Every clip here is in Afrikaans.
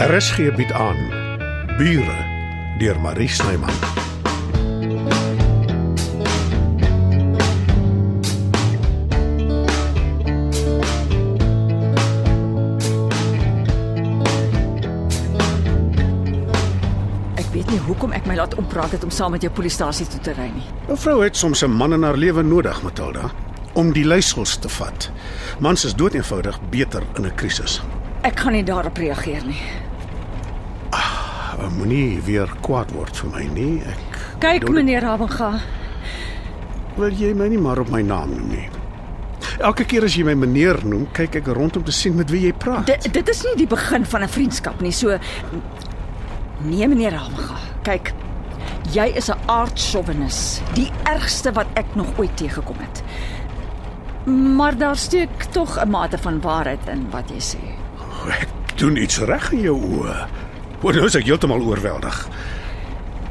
RSG bied aan Bure deur Marie Snyman. Ek weet nie hoekom ek my laat oppraat het om saam met jou polisiestasie toe te ry nie. Mevrou het soms 'n man in haar lewe nodig, Matilda, om die leiersels te vat. Mans is dood eenvoudig beter in 'n krisis. Ek gaan nie daarop reageer nie. Uh, Moenie weer kwaad word vir my nie. Ek Kyk Dodo- meneer Rabanga, wil jy my nie maar op my naam noem nie. Elke keer as jy my meneer noem, kyk ek rond om te sien met wie jy praat. dit dit is nie die begin van 'n vriendskap nie. So Nee meneer Rabanga, kyk. Jy is 'n aardchauvinis, die ergste wat ek nog ooit tegekom het. Maar daar steek tog 'n mate van waarheid in wat jy sê. Oh, Ek doen iets reg in jou oë. Hoor nou is ek heeltemal oorweldig.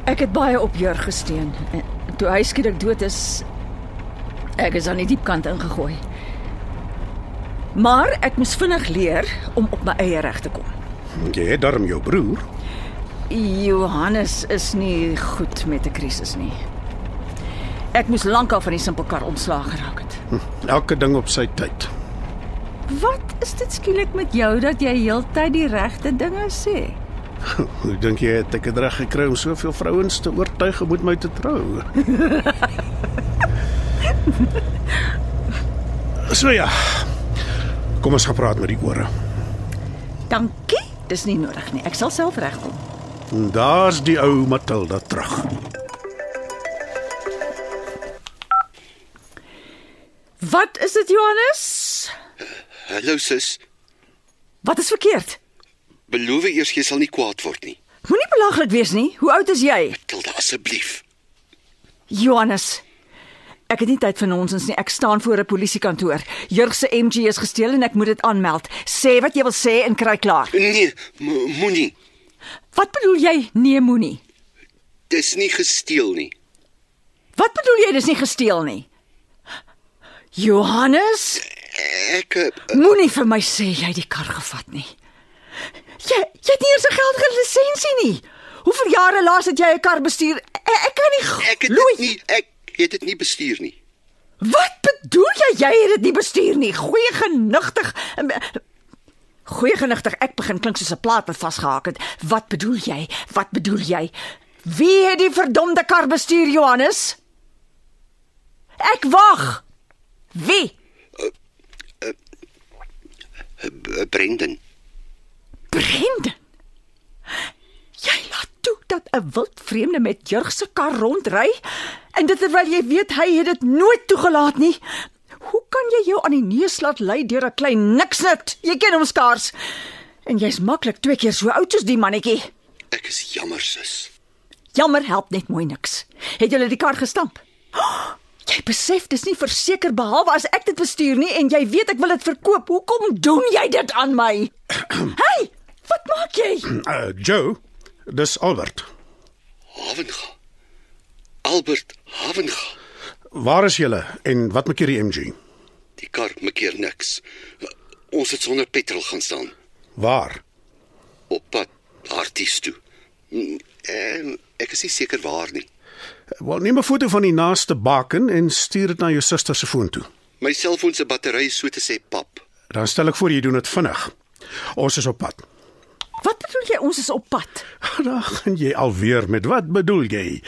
Ek het baie op Jurg gesteun. En Toe hy skielik dood is, ek is aan die diep kant ingegooi. Maar ek moes vinnig leer om op my eie reg te kom. Jy het darm jou broer. Johannes is nie goed met 'n krisis nie. Ek moes lankal van die simpelkar ontslaag geraak het. Elke ding op sy tyd. Wat is dit skielik met jou dat jy heeltyd die regte dinge sê? Hoe dink jy het ek dit reg gekry om soveel vrouens te oortuig om met my te trou? so ja. Kom ons gaan praat met die ore. Dankie, dis nie nodig nie. Ek sal self regkom. En Daar's die ou Matilda terug. Wat is dit Johannes? Hallo sis, Wat is verkeerd? beloof eers jy sal nie kwaad word nie. Moenie belaglik wees nie. Hoe oud is jy? Tilda asseblief. Johannes. Ek het nie tyd vir nonsens nie. Ek staan voor 'n polisiekantoor. Jurg se MG is gesteel en ek moet dit aanmeld. Sê wat jy wil sê en kry klaar. Nee, mo- moenie. Wat bedoel jy? Nee, moenie. Dis nie gesteel nie. Wat bedoel jy dis nie gesteel nie? Johannes, Ek eh, moenie vir my sê jy het die kar gevat nie. Jy jy het nie eens 'n geldige lisensie nie. Hoeveel jare laas het jy 'n kar bestuur? E, Ek, ek kan nie glo- ek het dit nie ek het dit nie bestuur nie. Wat bedoel jy jy het dit nie bestuur nie? Goeie genigtig. Goeie genigtig, ek begin klink soos 'n plaat wat vasgehaak het. Wat bedoel jy? Wat bedoel jy? Wie het die verdomde kar bestuur, Johannes? Ek wag. Wie? B- Brendan, Brendan. Jy laat toe dat 'n wildvreemde met Jurg se kar rondry en dit terwyl jy weet hy het dit nooit toegelaat nie. Hoe kan jy jou aan die neus laat lei deur 'n klein niksnit? Jy ken hom skaars. En jy's maklik twee keer so oud soos die mannetjie. ek is jammer sis. Jammer help net mooi niks. Het julle die kar gestamp? Jy besef dis nie verseker behalwe as ek dit bestuur nie en jy weet ek wil dit verkoop. Hoekom doen jy dit aan my? hey, wat maak jy? Uh Joe, dis Albert. Havenga. Albert Havenga. Waar is julle en wat maak hierdie MG? Die kar maak hier niks. Ons het sonder petrol gaan staan Waar? op pad Harties toe. Mm, eh, Ek is nie seker waar nie. Wel, neem 'n foto van die naaste baken en stuur dit na jou suster se foon toe. My selfoon se battery is so te sê pap. Dan stel ek voor jy doen dit vinnig. Ons is op pad. Wat bedoel jy ons is op pad? Dan gaan jy alweer met wat bedoel jy?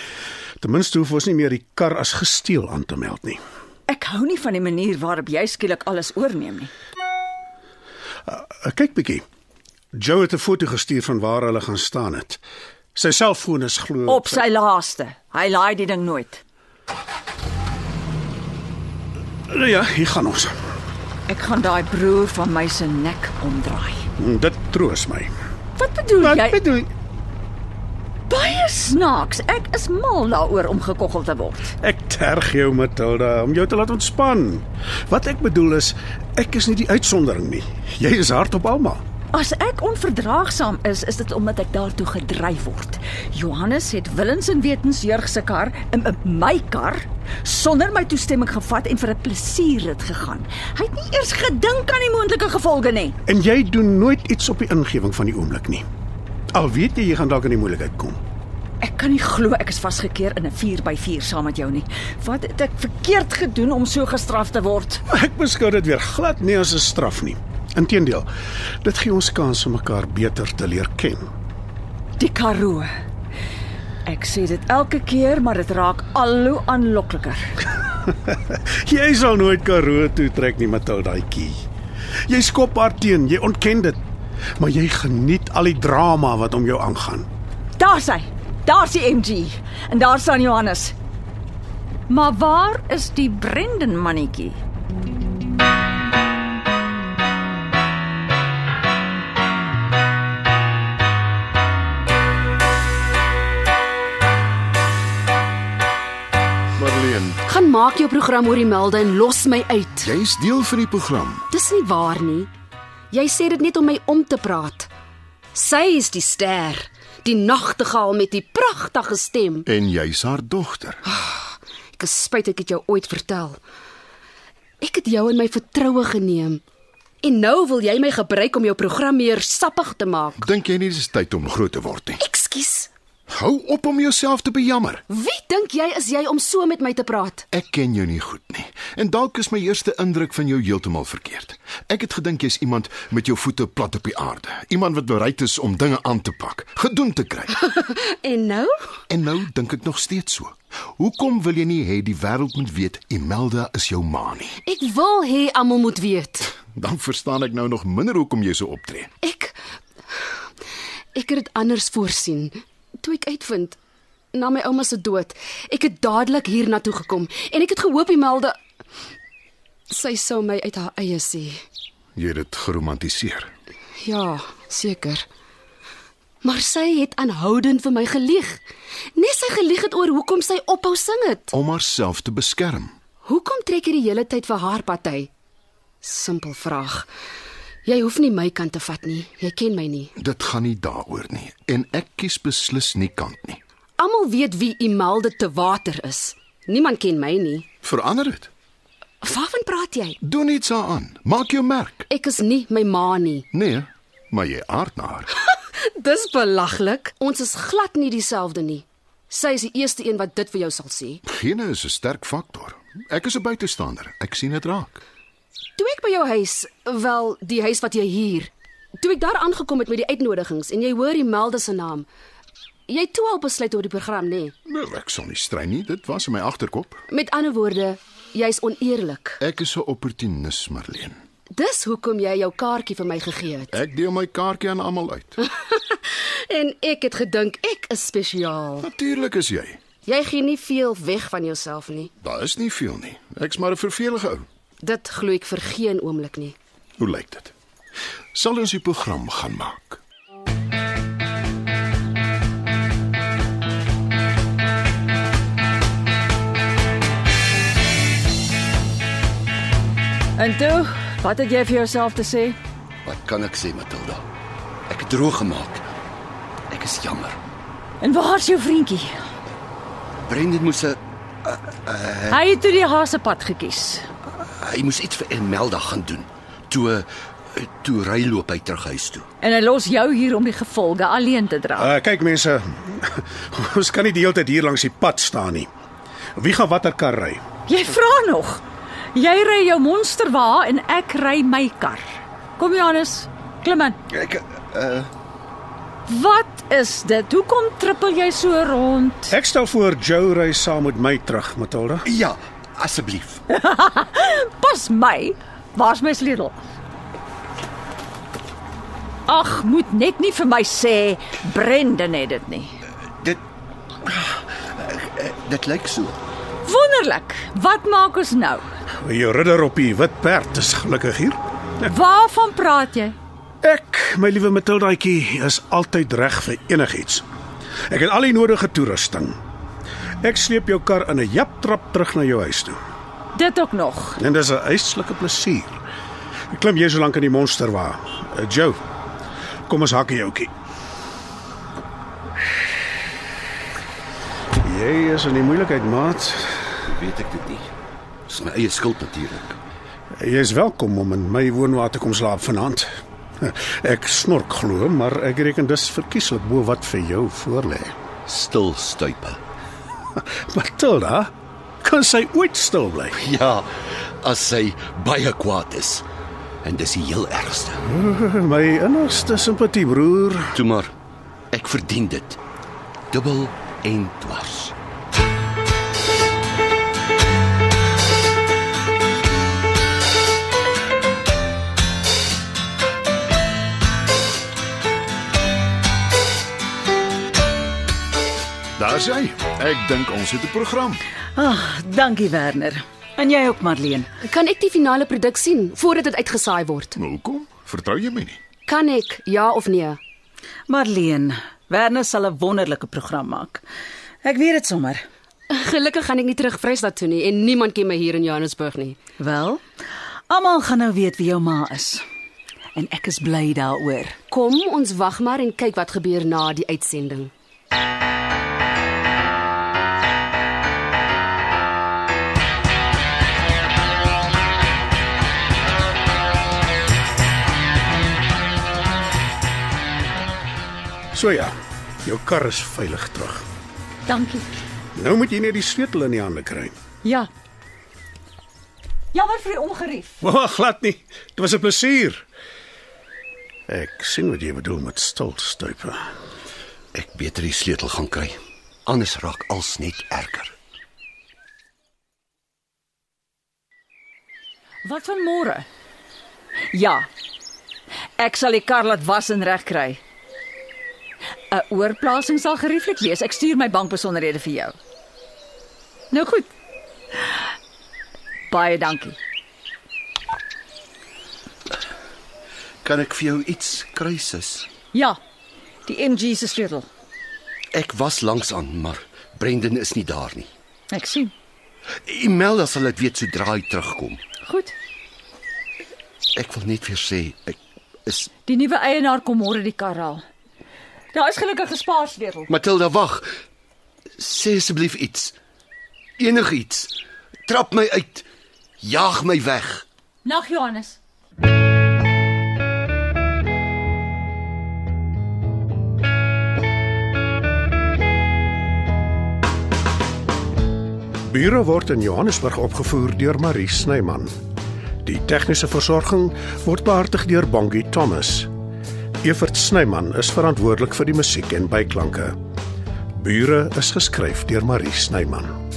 Ten minste hoef ons nie meer die kar as gesteel aan te meld nie. Ek hou nie van die manier waarop jy skielik alles oorneem nie. Uh, Kyk bietjie. Joe het 'n foto gestuur van waar hulle gaan staan het. Sy selfoon is glo Op sy laaste. Hy laai die ding nooit. Nou Ja, hier gaan ons. Ek gaan daai broer van my se nek omdraai. Hmm, Dit troos my. Wat bedoel Wat jy? bedoel? Baie snaaks. Ek is mal daaroor om gekoggel te word. Ek terg jou Matilda om jou te laat ontspan. Wat ek bedoel is, ek is nie die uitsondering nie. Jy is hard op almal. As ek onverdraagsaam is, is dit omdat ek daartoe gedryf word. Johannes het willens en wetens Jurg se kar in in my kar sonder my toestemming gevat en vir 'n plesierrit gegaan. Hy het nie eers gedink aan die moontlike gevolge nie. En jy doen nooit iets op die ingewing van die oomblik nie. Al weet jy jy gaan dalk in die moeilikheid kom. Ek kan nie glo ek is vasgekeer in 'n 4x4 saam met jou nie. Wat het ek verkeerd gedoen om so gestraf te word? Ek beskou dit weer glad nie as 'n straf nie. Inteendeel, dit gee ons kans om mekaar beter te leer ken. Die Karoo. Ek sê dit elke keer, maar dit raak al hoe aanlokliker. Jy sal nooit Karoo toe trek nie, Matildaatjie. Jy skop haar teen, jy ontken dit, maar jy geniet al die drama wat om jou aangaan. Daar's hy. Daar's die MG en daar staan Johannes. Maar waar is die Brendan mannetjie? Marleen, Gaan maak jou program oor die melde en los my uit. jy's deel van die program. Dis nie waar nie. Jy sê dit net om my om te praat. Sy is die ster, die nagtegaal met die pragtige stem. En jy's haar dogter. Ek is spyt ek het jou ooit vertel. Ek het jou in my vertroue geneem. En nou wil jy my gebruik om jou program meer sappig te maak. Dink jy nie dis tyd om groot te word nie? Ekskuus. Hou op om jouself te bejammer. Wie dink jy is jy om so met my te praat? Ek ken jou nie goed nie. En dalk is my eerste indruk van jou heeltemal verkeerd. Ek het gedink jy's iemand met jou voete plat op die aarde, iemand wat bereid is om dinge aan te pak, gedoen te kry. En nou? en nou dink ek nog steeds so. Hoekom wil jy nie hê die wêreld moet weet Imelda is jou ma nie? Ek wil hê almal moet weet. Dan verstaan ek nou nog minder hoekom jy so optree. Ek ek het dit anders voorsien toe ek uitvind na my ouma se dood. Ek het dadelik hiernatoe gekom en ek het gehoop Imelda sy sou my uit haar eie sê. Jy het dit geromantiseer. Ja, seker. Maar sy het aanhoudend vir my gelieg. Net sy gelieg het oor hoekom sy ophou sing het. om haarself te beskerm. Hoekom trek jy die hele tyd vir haar party? Simpel vraag. Jy hoef nie my kant te vat nie. Jy ken my nie. Dit gaan nie daaroor nie en ek kies beslis nie kant nie. Almal weet wie Imelda te water is. Niemand ken my nie. Verander dit. Waarvan praat jy? Doen iets daaraan. Maak jou merk. Ek is nie my ma nie. Nee, maar jy aard na haar. Dis belaglik. Ons is glad nie dieselfde nie. Sy is die eerste een wat dit vir jou sal sê. Gene is 'n sterk faktor. Ek is 'n buitestander. Ek sien dit raak. Toe ek by jou huis, wel, die huis wat jy huur, toe ek daar aangekom het met die uitnodigings en jy hoor Imelda se naam, jy toe al besluit oor die program nê. Nou, ek sal nie strei nie. Dit was in my agterkop. Met ander woorde, jy's oneerlik. Ek is 'n opportunis, Marleen. Dis hoekom jy jou kaartjie vir my gegee het. Ek deel my kaartjie aan almal uit. En ek het gedink ek is spesiaal. Natuurlik is jy. Jy gee nie veel weg van jouself nie. Daar is nie veel nie. Ek's maar 'n vervelige ou. Dit glo ek vir geen oomblik nie. Hoe lyk dit? Sal ons die program gaan maak? En toe, wat het jy vir jouself te sê? Wat kan ek sê, Matilda? Ek het droog gemaak. Ek is jammer. En waar's jou vriendjie? Brendan moes 'n Hy het toe die hasepad gekies. hy moes iets vir Imelda gaan doen. Toe eh, toe ry loop hy terug huis toe. En hy los jou hier om die gevolge alleen te dra. Uh, kyk mense, ons kan nie die hele tyd hier langs die pad staan nie. Wie gaan watter kar ry? Jy vra nog. Jy ry jou monsterwa en ek ry my kar. Kom Johannes, klim in. Ek eh, Wat is dit? Hoekom trippel jy so rond? Ek stel voor Joe ry saam met my terug, Matilda. ja, asseblief. Pas my. Waar's my sleutel? Ag, moet net nie vir my sê Brendan het dit nie. Dit dit lyk so. Wonderlik. Wat maak ons nou? Jou ridder op die wit perd is gelukkig hier. Waarvan praat jy? Ek, my liewe Matildaatjie, is altyd reg vir enigiets. Ek het al die nodige toerusting. Ek sleep jou kar in 'n japtrap terug na jou huis toe. Dit ook nog. En dis 'n uitslike plesier. Ek klim jy so lank in die monster wa. Uh, Joe, kom ons hakkie joukie. Jy is in die moeilikheid, maat. Weet ek dit nie. Dis my eie skuld natuurlik. Jy is welkom om in my woonwa te kom slaap vanaand. Ek snork glo, maar ek reken dis verkieslik bo wat vir jou voorlê. Stil stuipe. Matilda, kan sy ooit stil bly? Ja, as sy baie kwaad is. En dis die heel ergste. My innigste simpatie, broer. Toe maar. Ek verdien dit. Dubbel en dwars. Daar's hy. Ek dink ons het 'n program. Ag, dankie Werner. En jy ook Marleen. Kan ek die finale produk sien voordat dit uitgesaai word? Maar hoekom? Vertrou jy my nie? Kan ek ja of nee? Marleen, Werner sal 'n wonderlike program maak. Ek weet dit sommer. Gelukkig gaan ek nie terug Vrystaat toe nie en niemand ken my hier in Johannesburg nie. Wel, almal gaan nou weet wie jou ma is. En ek is bly daaroor. Kom, ons wag maar en kyk wat gebeur na die uitsending. So ja, jou kar is veilig terug. Dankie. Nou moet jy net die sleutel in die hande kry. Ja. Jammer vir die ongerief. Wag, glad nie. Dit was 'n plesier. Ek sien wat jy bedoel met stil stuipe. Ek beter die sleutel gaan kry. Anders raak als net erger. Wat van môre? Ja. Ek sal die kar laat was en regkry. 'n Oorplasing sal gerieflik wees. Ek stuur my bankbesonderhede vir jou. Nou goed. Baie dankie. Kan ek vir jou iets kry sis? Ja. Die MG se sleutel. Ek was langs aan, maar Brendan is nie daar nie. Ek sien. Imelda sal dit weet sodra hy terugkom. Goed. Ek wil net weer sê ek is Die nuwe eienaar kom môre die kar haal. Daar is gelukkig gespaar sleutel. Matilda wag. Sê asseblief iets. Enigiets. Trap my uit. Jaag my weg. Nag Johannes. Bure word in Johannesburg opgevoer deur Marie Snyman. Die tegniese versorging word behartig deur Bongie Thomas. Evert Snyman is verantwoordelik vir die musiek en byklanke. Bure is geskryf deur Marie Snyman.